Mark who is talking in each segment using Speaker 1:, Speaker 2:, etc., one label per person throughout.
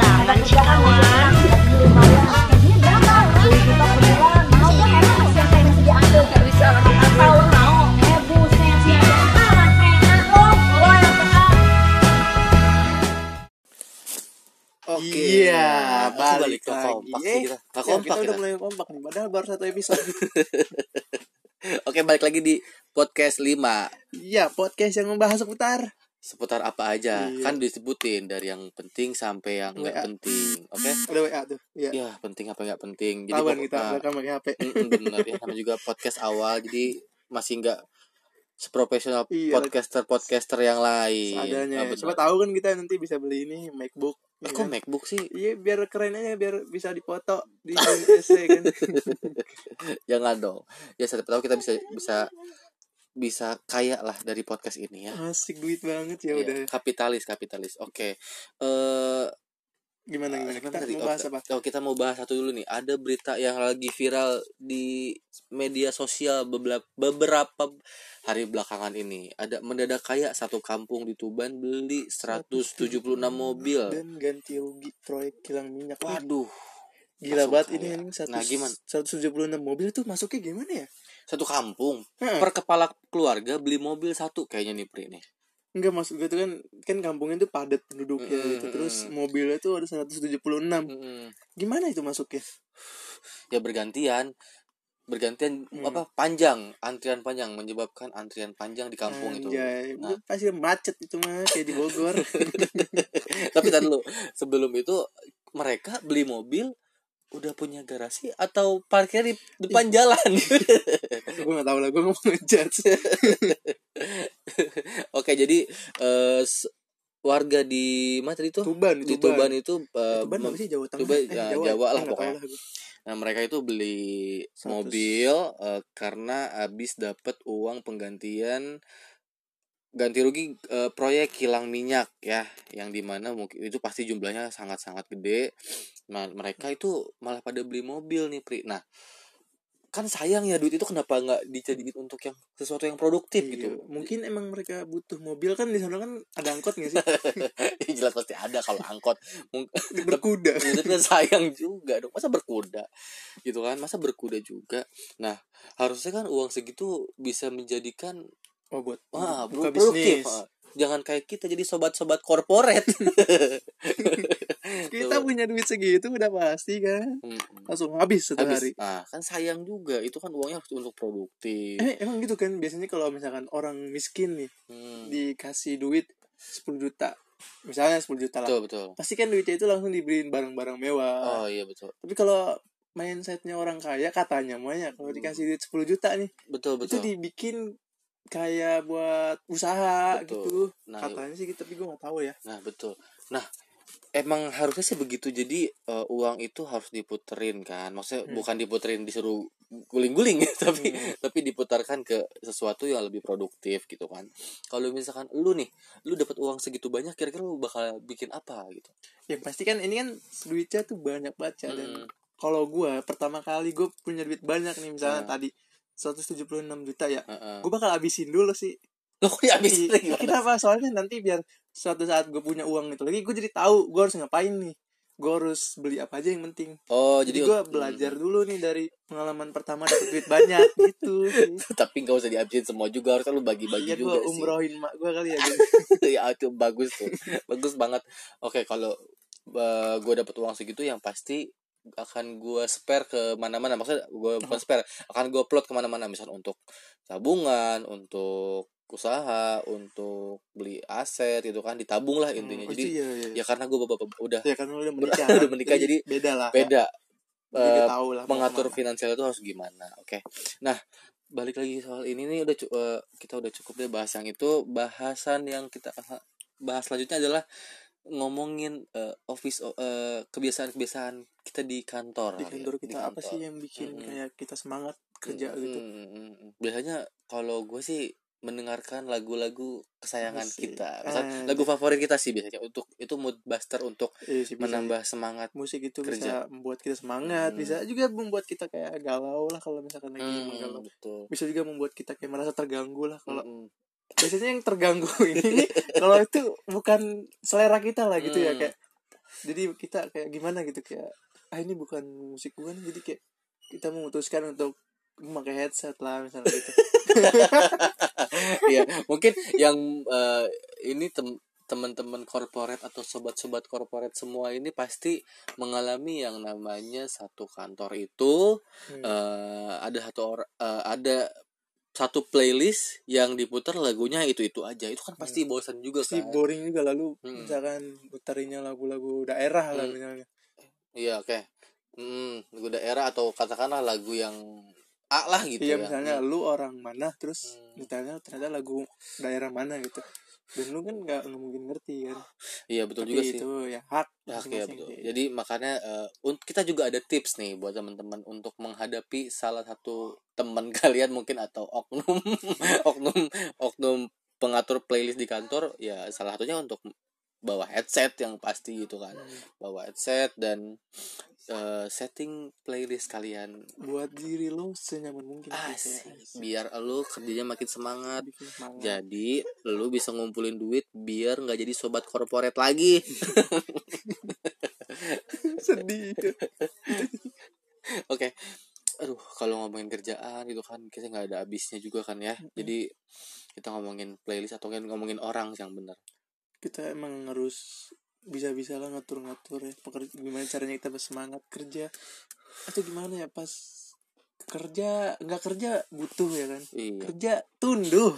Speaker 1: pergerakan kawan.
Speaker 2: Oke.
Speaker 3: Iya,
Speaker 2: Aku
Speaker 3: balik
Speaker 2: ke
Speaker 3: lagi.
Speaker 2: kompak sih
Speaker 3: Eh,
Speaker 2: kita. Gak
Speaker 3: Ya,
Speaker 2: kompak
Speaker 3: kita
Speaker 2: kita.
Speaker 3: udah mulai kompak nih padahal baru satu episode
Speaker 2: Oke, balik lagi di podcast 5
Speaker 3: iya podcast yang membahas seputar
Speaker 2: seputar apa aja.
Speaker 3: Iya.
Speaker 2: Kan disebutin dari yang penting sampai yang
Speaker 3: WA.
Speaker 2: nggak penting. Oke.
Speaker 3: ada wa tuh iya
Speaker 2: Ya, penting apa nggak penting. Jadi
Speaker 3: tawan
Speaker 2: pokok-
Speaker 3: kita
Speaker 2: nah,
Speaker 3: rekam pakai hp
Speaker 2: mm-mm, bener ya sama juga podcast awal jadi masih nggak seprofesional
Speaker 3: Iya.
Speaker 2: podcaster-podcaster yang lain.
Speaker 3: adanya
Speaker 2: Nah, bener.
Speaker 3: siapa tahu kan kita nanti bisa beli ini macbook
Speaker 2: Eh,
Speaker 3: ya
Speaker 2: kok
Speaker 3: kan?
Speaker 2: MacBook sih?
Speaker 3: iya biar keren aja biar bisa dipoto di USA kan
Speaker 2: Jangan dong. Ya siapa tahu kita bisa bisa bisa kaya lah dari podcast ini ya.
Speaker 3: asik duit banget
Speaker 2: Iya,
Speaker 3: ya udah
Speaker 2: kapitalis kapitalis. Oke. Eh
Speaker 3: gimana gimana
Speaker 2: Apa
Speaker 3: Nah, kita
Speaker 2: tadi?
Speaker 3: mau bahas
Speaker 2: Oh,
Speaker 3: apa
Speaker 2: kita- oh, kita mau bahas satu dulu nih. Ada berita yang lagi viral di media sosial beberapa, beberapa hari belakangan ini. Ada mendadak kaya satu kampung di Tuban beli 176 mobil.
Speaker 3: dan ganti rugi proyek kilang minyak Wah,
Speaker 2: Waduh,
Speaker 3: gila
Speaker 2: langsung
Speaker 3: banget
Speaker 2: kaya.
Speaker 3: ini anjing satu
Speaker 2: Nah, gimana?
Speaker 3: 176 mobil tuh masuknya gimana ya
Speaker 2: satu kampung
Speaker 3: Heeh.
Speaker 2: per kepala keluarga beli mobil satu kayaknya nih Pri nih.
Speaker 3: Enggak maksud gue tuh kan kan kampungnya tuh padat penduduknya
Speaker 2: Mm,
Speaker 3: gitu.
Speaker 2: mm,
Speaker 3: Terus
Speaker 2: mm.
Speaker 3: mobilnya tuh ada 176. Hmm.
Speaker 2: Mm-mm.
Speaker 3: Gimana itu masuknya?
Speaker 2: Ya bergantian bergantian
Speaker 3: Hmm.
Speaker 2: apa panjang antrian panjang menyebabkan antrian panjang di kampung itu
Speaker 3: Anjay,
Speaker 2: Nah.
Speaker 3: itu pasti macet itu mah kayak di Bogor.
Speaker 2: Tapi tadi dulu, sebelum itu mereka beli mobil udah punya garasi atau parkir di depan jalan.
Speaker 3: gue gak tau lah, gue ngomong ngejudge.
Speaker 2: Oke, jadi eh, s- warga di mana tadi tuh?
Speaker 3: Oh, Tuban,
Speaker 2: Di
Speaker 3: Tuban.
Speaker 2: Tuban itu eh,
Speaker 3: Tuban apa
Speaker 2: mem-
Speaker 3: sih Jawa Tengah?
Speaker 2: Tuban, ya, Jawa lah
Speaker 3: eh, nggak tahu
Speaker 2: pokoknya.
Speaker 3: gua.
Speaker 2: nah, mereka itu beli
Speaker 3: Seratus.
Speaker 2: mobil eh, karena habis dapat uang penggantian ganti rugi eh, proyek kilang minyak ya yang dimana mungkin itu pasti jumlahnya sangat-sangat gede nah mereka itu malah pada beli mobil nih Pri nah kan sayang ya duit itu kenapa nggak dijadiin untuk yang sesuatu yang produktif
Speaker 3: Iya,
Speaker 2: gitu
Speaker 3: Mungkin emang mereka butuh mobil kan di sana kan ada angkot gak sih?
Speaker 2: jelas pasti ada kalau angkot
Speaker 3: Berkuda.
Speaker 2: Ya, tapi kan sayang juga dong masa berkuda gitu kan masa berkuda juga nah harusnya kan uang segitu bisa menjadikan
Speaker 3: Oh buat
Speaker 2: wah
Speaker 3: buka
Speaker 2: produktif
Speaker 3: bisnis.
Speaker 2: ah. jangan kayak kita jadi sobat-sobat korporat
Speaker 3: Kita
Speaker 2: Tuh.
Speaker 3: punya duit segitu udah pasti kan.
Speaker 2: Mm-mm.
Speaker 3: Langsung habis satu
Speaker 2: Hmm. Habis.
Speaker 3: hari.
Speaker 2: Nah, kan sayang juga. Itu kan uangnya harus untuk produktif.
Speaker 3: Eh, emang gitu kan biasanya kalau misalkan orang miskin nih
Speaker 2: Hmm.
Speaker 3: dikasih duit 10 juta misalnya 10 juta lah
Speaker 2: Betul, betul.
Speaker 3: pasti kan duitnya itu langsung dibeliin barang-barang mewah
Speaker 2: Oh iya betul.
Speaker 3: tapi kalau mindsetnya orang kaya katanya banyak kalau
Speaker 2: Hmm.
Speaker 3: dikasih duit 10 juta nih
Speaker 2: Betul,
Speaker 3: itu
Speaker 2: betul.
Speaker 3: dibikin kayak buat usaha
Speaker 2: Betul.
Speaker 3: gitu
Speaker 2: Nah, iya.
Speaker 3: katanya sih gitu tapi gue gak tahu ya
Speaker 2: nah, betul. Nah, emang harusnya sih begitu. Jadi eh, uang itu harus diputerin kan. Maksudnya
Speaker 3: Hmm.
Speaker 2: bukan diputerin disuruh guling-guling ya, tapi
Speaker 3: Hmm.
Speaker 2: tapi diputarkan ke sesuatu yang lebih produktif gitu kan. Kalau misalkan lu nih, lu dapat uang segitu banyak kira-kira lu bakal bikin apa gitu.
Speaker 3: yang pasti kan ini kan duitnya tuh banyak banget ya dan
Speaker 2: Mm-mm.
Speaker 3: kalau gue pertama kali gue punya duit banyak nih misalnya
Speaker 2: Nah.
Speaker 3: tadi 176 juta ya
Speaker 2: Heeh.
Speaker 3: gue bakal habisin dulu sih
Speaker 2: Loh, kok dihabisin
Speaker 3: Iya,
Speaker 2: gimana?
Speaker 3: Kenapa? Soalnya nanti biar suatu saat gue punya uang itu lagi gue jadi tahu gue harus ngapain nih. Gue harus beli apa aja yang penting.
Speaker 2: Oh,
Speaker 3: Jadi
Speaker 2: jadi,
Speaker 3: gue belajar dulu nih dari pengalaman pertama dapat duit banyak gitu.
Speaker 2: tapi nggak usah dihabisin semua juga harus lu bagi-bagi
Speaker 3: Iya gue
Speaker 2: Iya juga sih
Speaker 3: umrohin mak gue kali ya. gua.
Speaker 2: ya itu bagus tuh bagus banget oke kalau gue dapet uang segitu yang pasti akan gue spare ke mana-mana maksudnya gue bukan spare akan gue plot kemana-mana misal untuk tabungan untuk usaha untuk beli aset gitu kan ditabung lah intinya
Speaker 3: Oh,
Speaker 2: jadi
Speaker 3: iya, iya.
Speaker 2: ya karena gue bapak bapak udah
Speaker 3: Ya, kan lu udah menikah.
Speaker 2: Udah
Speaker 3: kan?
Speaker 2: menikah, jadi
Speaker 3: beda lah.
Speaker 2: beda
Speaker 3: Jadi udah
Speaker 2: eh,
Speaker 3: tahu lah mau
Speaker 2: mengatur
Speaker 3: kemana.
Speaker 2: finansial itu harus gimana oke nah balik lagi soal ini nih udah cu- eh, kita udah cukup deh bahas yang itu bahasan yang kita eh, bahas selanjutnya adalah ngomongin eh, office eh, kebiasaan-kebiasaan kita di kantor kali
Speaker 3: di
Speaker 2: ya,
Speaker 3: kantor kita apa sih yang bikin
Speaker 2: Mm-mm.
Speaker 3: kayak kita semangat kerja
Speaker 2: Mm,
Speaker 3: gitu.
Speaker 2: mm, mm, mm. biasanya kalau gue sih mendengarkan lagu-lagu kesayangan
Speaker 3: Asik. Ah, iya.
Speaker 2: kita Misal,
Speaker 3: Anjay.
Speaker 2: lagu favorit kita sih biasanya untuk itu mood buster untuk
Speaker 3: Iya sih, bisa.
Speaker 2: menambah semangat
Speaker 3: musik itu
Speaker 2: Kerja.
Speaker 3: bisa membuat kita semangat,
Speaker 2: Hmm.
Speaker 3: bisa juga membuat kita kayak galau lah kalau misalkan lagi
Speaker 2: Mm,
Speaker 3: galau.
Speaker 2: betul
Speaker 3: bisa juga membuat kita kayak merasa terganggu lah kalau
Speaker 2: Mm, mm.
Speaker 3: biasanya yang terganggu ini kalau itu bukan selera kita lah gitu ya
Speaker 2: Hmm.
Speaker 3: kayak jadi kita kayak gimana gitu kayak ah ini bukan musik gua nih jadi kayak kita memutuskan untuk memakai headset lah misalnya gitu
Speaker 2: Iya, mungkin yang eh, ini tem teman-teman korporat atau sobat-sobat korporat semua ini pasti mengalami yang namanya satu kantor itu
Speaker 3: Hmm.
Speaker 2: eh, ada satu orang ada satu playlist yang diputar lagunya itu-itu aja. Itu kan pasti
Speaker 3: Hmm.
Speaker 2: bosan juga
Speaker 3: si
Speaker 2: kan.
Speaker 3: boring juga lalu
Speaker 2: Mm-mm.
Speaker 3: misalkan putarinya lagu-lagu daerah lah
Speaker 2: Mm.
Speaker 3: misalnya
Speaker 2: Iya, oke. Hmm, lagu daerah atau katakanlah lagu yang A lah gitu
Speaker 3: iya
Speaker 2: ya.
Speaker 3: misalnya
Speaker 2: Hmm.
Speaker 3: lu orang mana terus
Speaker 2: Hmm.
Speaker 3: misalnya ternyata lagu daerah mana gitu dan lu kan nggak nggak mungkin ngerti kan
Speaker 2: Iya, betul
Speaker 3: tapi
Speaker 2: juga sih.
Speaker 3: itu ya hak
Speaker 2: Ya, oke,
Speaker 3: masing-masing. iya.
Speaker 2: betul. Jadi makanya eh, un- kita juga ada tips nih buat teman-teman untuk menghadapi salah satu teman kalian mungkin atau oknum oknum oknum pengatur playlist di kantor ya salah satunya untuk bawa headset yang pasti gitu kan
Speaker 3: Hmm.
Speaker 2: bawa headset dan eh, setting playlist kalian
Speaker 3: buat diri lu senyaman mungkin
Speaker 2: asik
Speaker 3: iya,
Speaker 2: biar lu kerjanya makin semangat
Speaker 3: Bikin semangat.
Speaker 2: jadi lu bisa ngumpulin duit biar nggak jadi sobat korporat lagi
Speaker 3: sedih itu
Speaker 2: Oke. Aduh, kalau ngomongin kerjaan gitu kan kita nggak ada habisnya juga kan ya. Jadi kita ngomongin playlist atau kan ngomongin orang yang benar.
Speaker 3: kita emang harus bisa-bisa lah ngatur-ngatur ya pekerja, gimana caranya kita bersemangat kerja atau gimana ya pas kerja nggak kerja butuh ya kan
Speaker 2: Iya.
Speaker 3: kerja tunduh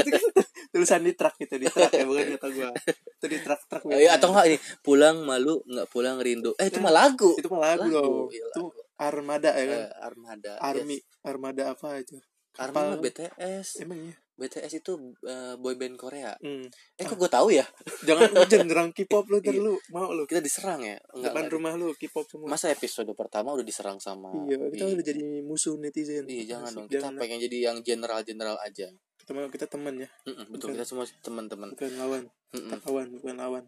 Speaker 3: itu kan tulisan di truk gitu di truk ya bukan kata gua itu di ya. truk truk
Speaker 2: Eh, atau enggak ini pulang malu nggak pulang rindu. Eh itu mah lagu.
Speaker 3: Nah, itu mah lagu
Speaker 2: Lagu,
Speaker 3: loh
Speaker 2: iya,
Speaker 3: itu armada ya kan
Speaker 2: Eh, armada.
Speaker 3: army armada apa itu
Speaker 2: Yes. Army mah
Speaker 3: Kapal.
Speaker 2: BTS.
Speaker 3: emang ya
Speaker 2: BTS itu eh, boy band Korea.
Speaker 3: hmm.
Speaker 2: Eh kok gue tahu ya?
Speaker 3: jangan lu jangan nyerang K-pop lu ntar
Speaker 2: Iya.
Speaker 3: lu mau lu
Speaker 2: Kita diserang ya? Enggak.
Speaker 3: depan
Speaker 2: enggak.
Speaker 3: rumah lu K-pop semua
Speaker 2: Masa episode pertama udah diserang sama
Speaker 3: Iya, kita
Speaker 2: Iya.
Speaker 3: udah jadi musuh netizen.
Speaker 2: Iya, jangan
Speaker 3: Asik,
Speaker 2: dong. Kita
Speaker 3: jangan.
Speaker 2: pengen jadi yang general-general aja.
Speaker 3: Kita mau- kita teman ya,
Speaker 2: Mm-mm, betul, kita semua teman-teman.
Speaker 3: bukan lawan.
Speaker 2: Mm-mm.
Speaker 3: Tak Lawan, bukan lawan.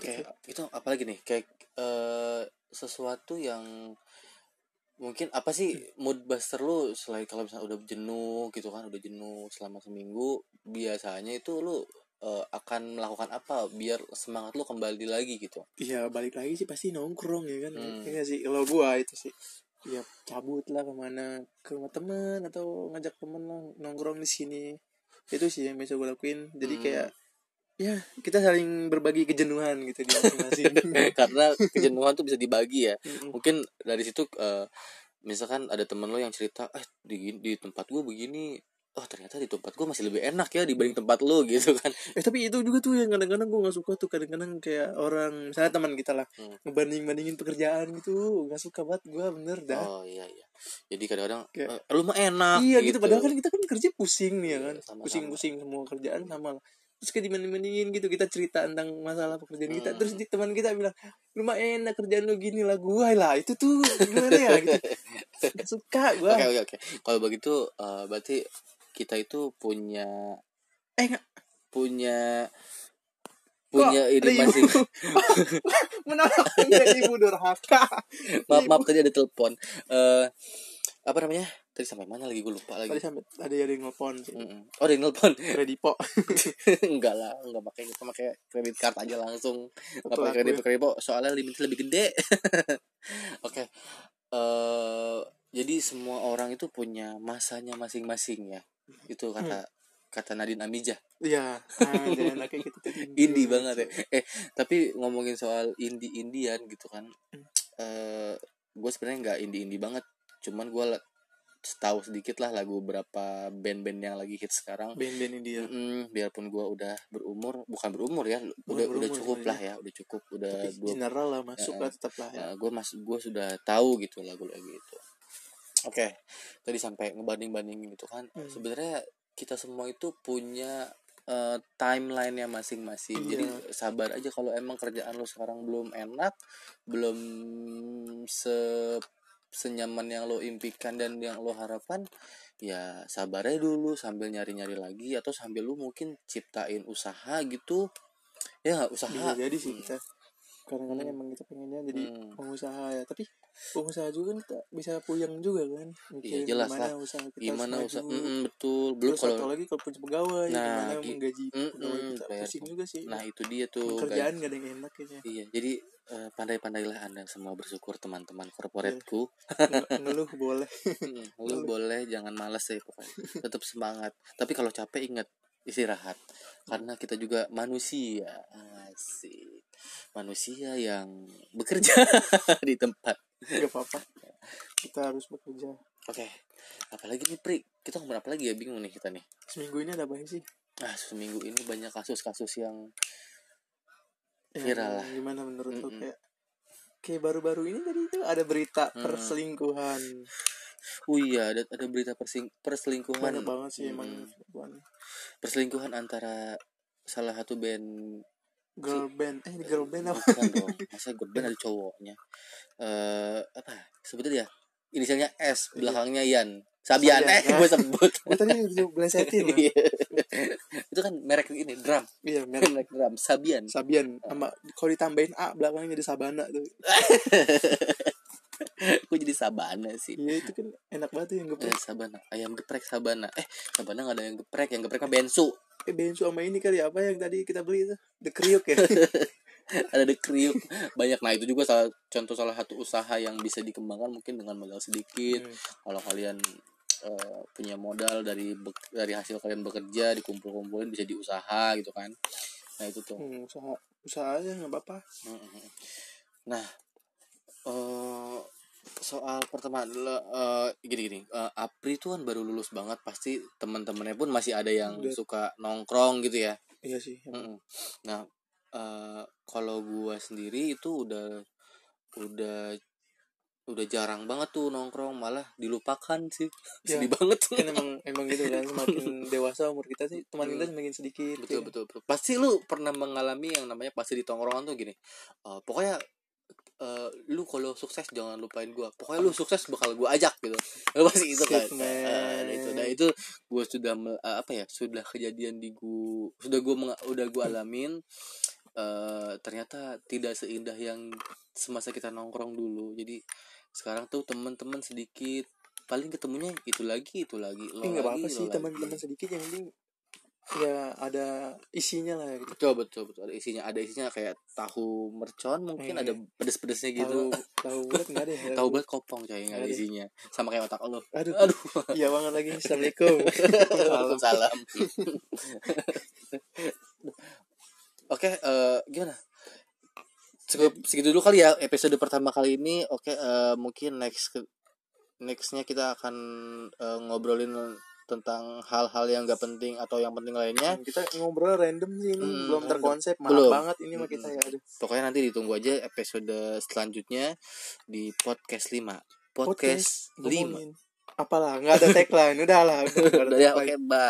Speaker 2: Oke, Gitu. itu apalagi nih kayak eh, sesuatu yang mungkin apa sih mood buster lu selain kalau misalnya udah jenuh gitu kan udah jenuh selama seminggu biasanya itu lu eh, akan melakukan apa biar semangat lu kembali lagi gitu
Speaker 3: Iya, balik lagi sih pasti nongkrong ya kan.
Speaker 2: Hmm.
Speaker 3: Iya sih, kalau gua itu sih. Ya cabut lah kemana ke rumah teman atau ngajak temen lah nongkrong di sini. Itu sih yang bisa gua lakuin. Jadi
Speaker 2: Hmm.
Speaker 3: kayak ya kita saling berbagi kejenuhan gitu di masing-masing.
Speaker 2: karena kejenuhan tuh bisa dibagi ya
Speaker 3: Mm-mm.
Speaker 2: mungkin dari situ eh, misalkan ada temen lu yang cerita eh di di tempat gua begini oh ternyata di tempat gua masih lebih enak ya dibanding tempat lu gitu kan
Speaker 3: eh tapi itu juga tuh yang kadang-kadang gua nggak suka tuh kadang-kadang kayak orang misalnya teman kita lah
Speaker 2: Hmm.
Speaker 3: ngebanding-bandingin pekerjaan gitu nggak suka banget gua bener dah
Speaker 2: oh iya iya jadi kadang-kadang
Speaker 3: Kayak-
Speaker 2: eh, lu mah enak
Speaker 3: iya gitu. padahal kan kita kan kerja pusing nih ya
Speaker 2: Iya,
Speaker 3: kan
Speaker 2: sama-sama.
Speaker 3: pusing-pusing semua kerjaan sama lah. terus kayak dibanding-bandingin gitu kita cerita tentang masalah pekerjaan
Speaker 2: Hmm.
Speaker 3: kita terus di teman kita bilang lu mah enak kerjaan lu gini lah gua lah itu tuh gimana ya gitu Nggak suka gua
Speaker 2: Oke oke oke. Kalau begitu eh, berarti kita itu punya
Speaker 3: eh nggak-
Speaker 2: punya
Speaker 3: kok
Speaker 2: punya ini
Speaker 3: ribu?
Speaker 2: masih
Speaker 3: menolak menjadi ibu durhaka
Speaker 2: maaf maaf tadi ada telepon. Eh apa namanya? Tadi sampai mana lagi gue lupa
Speaker 3: tadi
Speaker 2: lagi.
Speaker 3: sampai ada yang nelfon sih
Speaker 2: Mm-mm. Oh, ada yang nelpon.
Speaker 3: kredipo
Speaker 2: enggak lah, enggak pakai kita pakai kredit card aja langsung. Enggak
Speaker 3: Betul,
Speaker 2: pakai kredit
Speaker 3: aku ya.
Speaker 2: kredit soalnya limitnya lebih gede. Oke. Eh jadi semua orang itu punya masanya masing-masing ya. Itu kata
Speaker 3: Hmm.
Speaker 2: kata Nadine Amijah.
Speaker 3: iya ah, jadi anaknya gitu tuh
Speaker 2: indie banget ya eh tapi ngomongin soal indie indian gitu kan
Speaker 3: Hmm.
Speaker 2: eh gue sebenarnya nggak indie indie banget cuman gue tahu sedikit lah lagu berapa band-band yang lagi hit sekarang
Speaker 3: band-band India
Speaker 2: Mm, biarpun gue udah berumur bukan berumur ya udah udah
Speaker 3: berumur
Speaker 2: cukup
Speaker 3: sebenarnya.
Speaker 2: lah ya udah cukup udah
Speaker 3: tapi
Speaker 2: dua
Speaker 3: general lah masuk lah tetap lah ya.
Speaker 2: gue mas gue sudah tahu gitu lagu-lagu itu oke tadi sampai ngebanding-bandingin gitu kan
Speaker 3: Hmm.
Speaker 2: sebenarnya kita semua itu punya eh, timeline-nya masing-masing
Speaker 3: Iya.
Speaker 2: jadi sabar aja kalau emang kerjaan lo sekarang belum enak belum se senyaman yang lo impikan dan yang lo harapan ya sabar aja dulu sambil nyari-nyari lagi atau sambil lo mungkin ciptain usaha gitu ya usaha
Speaker 3: bisa jadi sih kita kadang-kadang emang kita pengennya jadi
Speaker 2: Hmm.
Speaker 3: pengusaha ya tapi pengusaha juga kan kita bisa puyeng juga kan Mikirin
Speaker 2: Iya, jelas
Speaker 3: gimana usaha kita
Speaker 2: gimana
Speaker 3: harus
Speaker 2: usah
Speaker 3: maju.
Speaker 2: mm, betul belum
Speaker 3: Terus
Speaker 2: kalau
Speaker 3: satu lagi kalau punya pegawai
Speaker 2: Nah,
Speaker 3: gimana
Speaker 2: ki-
Speaker 3: menggaji
Speaker 2: Mm-mm,
Speaker 3: pegawai kita
Speaker 2: bayar
Speaker 3: pusing juga sih
Speaker 2: nah itu dia tuh guys.
Speaker 3: kerjaan gak ada yang enak kayaknya
Speaker 2: iya jadi eh, pandai-pandailah anda semua bersyukur teman-teman korporatku
Speaker 3: Nge- ngeluh boleh
Speaker 2: lu boleh jangan malas deh pokoknya tetap semangat tapi kalau capek ingat istirahat karena kita juga manusia asik manusia yang bekerja di tempat
Speaker 3: gak apa-apa kita harus bekerja
Speaker 2: oke apalagi nih Pri kita ngomong apa lagi ya bingung nih kita nih
Speaker 3: seminggu ini ada apa sih
Speaker 2: ah seminggu ini banyak kasus-kasus yang
Speaker 3: Ya,
Speaker 2: Viral lah.
Speaker 3: gimana menurut lo
Speaker 2: Mm-mm.
Speaker 3: kayak kayak baru-baru ini tadi itu ada berita
Speaker 2: Mm.
Speaker 3: perselingkuhan
Speaker 2: oh iya ada ada berita persing- perselingkuhan
Speaker 3: banyak banget sih emang
Speaker 2: Mm-mm.
Speaker 3: perselingkuhan.
Speaker 2: perselingkuhan antara salah satu band
Speaker 3: girl band eh ini girl band apa
Speaker 2: bukan dong masa grup band ada cowoknya eh apa sebetulnya ya inisialnya S belakangnya Yan Sabian
Speaker 3: Iya. Sabian,
Speaker 2: eh
Speaker 3: ya.
Speaker 2: gue sebut
Speaker 3: gue tadi udah belesetin lah.
Speaker 2: Iya. itu kan merek ini drum
Speaker 3: iya merek
Speaker 2: merek drum Sabian
Speaker 3: Sabian sama kalau ditambahin A belakangnya jadi Sabana tuh
Speaker 2: gue jadi Sabana sih
Speaker 3: iya itu kan enak banget tuh yang
Speaker 2: Eh,
Speaker 3: geprek
Speaker 2: Sabana ayam geprek Sabana eh Sabana nggak ada yang geprek yang geprek mah Bensu
Speaker 3: eh bensu sama ini kali apa yang tadi kita beli itu The Kriuk ya
Speaker 2: ada The kriuk banyak nah itu juga salah contoh salah satu usaha yang bisa dikembangkan mungkin dengan modal sedikit
Speaker 3: Hmm.
Speaker 2: kalau kalian eh, punya modal dari bek- dari hasil kalian bekerja dikumpul-kumpulin bisa diusaha gitu kan nah itu tuh
Speaker 3: hmm, usaha usaha aja nggak apa-apa
Speaker 2: Mm-mm. nah eh, soal pertemanan eh, gini-gini Apri tuh kan baru lulus banget pasti teman-temannya pun masih ada yang
Speaker 3: Udah.
Speaker 2: suka nongkrong gitu ya
Speaker 3: iya sih
Speaker 2: Mm-mm.
Speaker 3: emang.
Speaker 2: Nah, eh, kalau gua sendiri itu udah udah udah jarang banget tuh nongkrong, malah dilupakan sih.
Speaker 3: Ya.
Speaker 2: Sedih banget.
Speaker 3: kan emang emang gitu kan semakin dewasa umur kita sih teman kita semakin sedikit
Speaker 2: Iya. betul,
Speaker 3: ya.
Speaker 2: betul betul. Pasti lu pernah mengalami yang namanya pasti di tongkrongan tuh gini. eh, pokoknya eh, lu kalau sukses jangan lupain gua. Pokoknya lu sukses bakal gua ajak gitu. Lu pasti itu kan.
Speaker 3: Statement.
Speaker 2: Eh, nah itu nah itu gua sudah me- eh, apa ya? Sudah kejadian di gua sudah gua menga- udah gua alamin eh ternyata tidak seindah yang semasa kita nongkrong dulu. Jadi sekarang tuh teman-teman sedikit paling ketemunya itu lagi itu lagi lo
Speaker 3: Tapi Eh, nggak
Speaker 2: lagi,
Speaker 3: apa-apa
Speaker 2: lo
Speaker 3: sih
Speaker 2: lagi.
Speaker 3: teman-teman sedikit yang penting ya ada isinya lah gitu.
Speaker 2: betul betul betul ada isinya ada isinya kayak tahu mercon mungkin
Speaker 3: Iya.
Speaker 2: ada pedes-pedesnya
Speaker 3: Tahu
Speaker 2: gitu
Speaker 3: tahu banget nggak deh.
Speaker 2: tahu banget kopong coy nggak ada
Speaker 3: Ada.
Speaker 2: isinya sama kayak otak lo
Speaker 3: Aduh,
Speaker 2: aduh
Speaker 3: iya banget lagi. Assalamualaikum. Salam.
Speaker 2: salam oke eh, gimana cukup segitu dulu kali ya episode pertama kali ini oke eh, mungkin next ke- nextnya kita akan eh, ngobrolin tentang hal-hal yang gak penting atau yang penting lainnya
Speaker 3: Kan Kita ngobrol random sih ini
Speaker 2: Hmm,
Speaker 3: belum
Speaker 2: random.
Speaker 3: terkonsep
Speaker 2: Belum.
Speaker 3: maaf banget ini mah kita ya. Aduh.
Speaker 2: pokoknya nanti ditunggu aja episode selanjutnya di podcast 5 podcast, 5
Speaker 3: ngomongin. Apalah nggak ada tagline. Udahlah. udah, nggak ada
Speaker 2: udah ya
Speaker 3: tagline.
Speaker 2: oke bye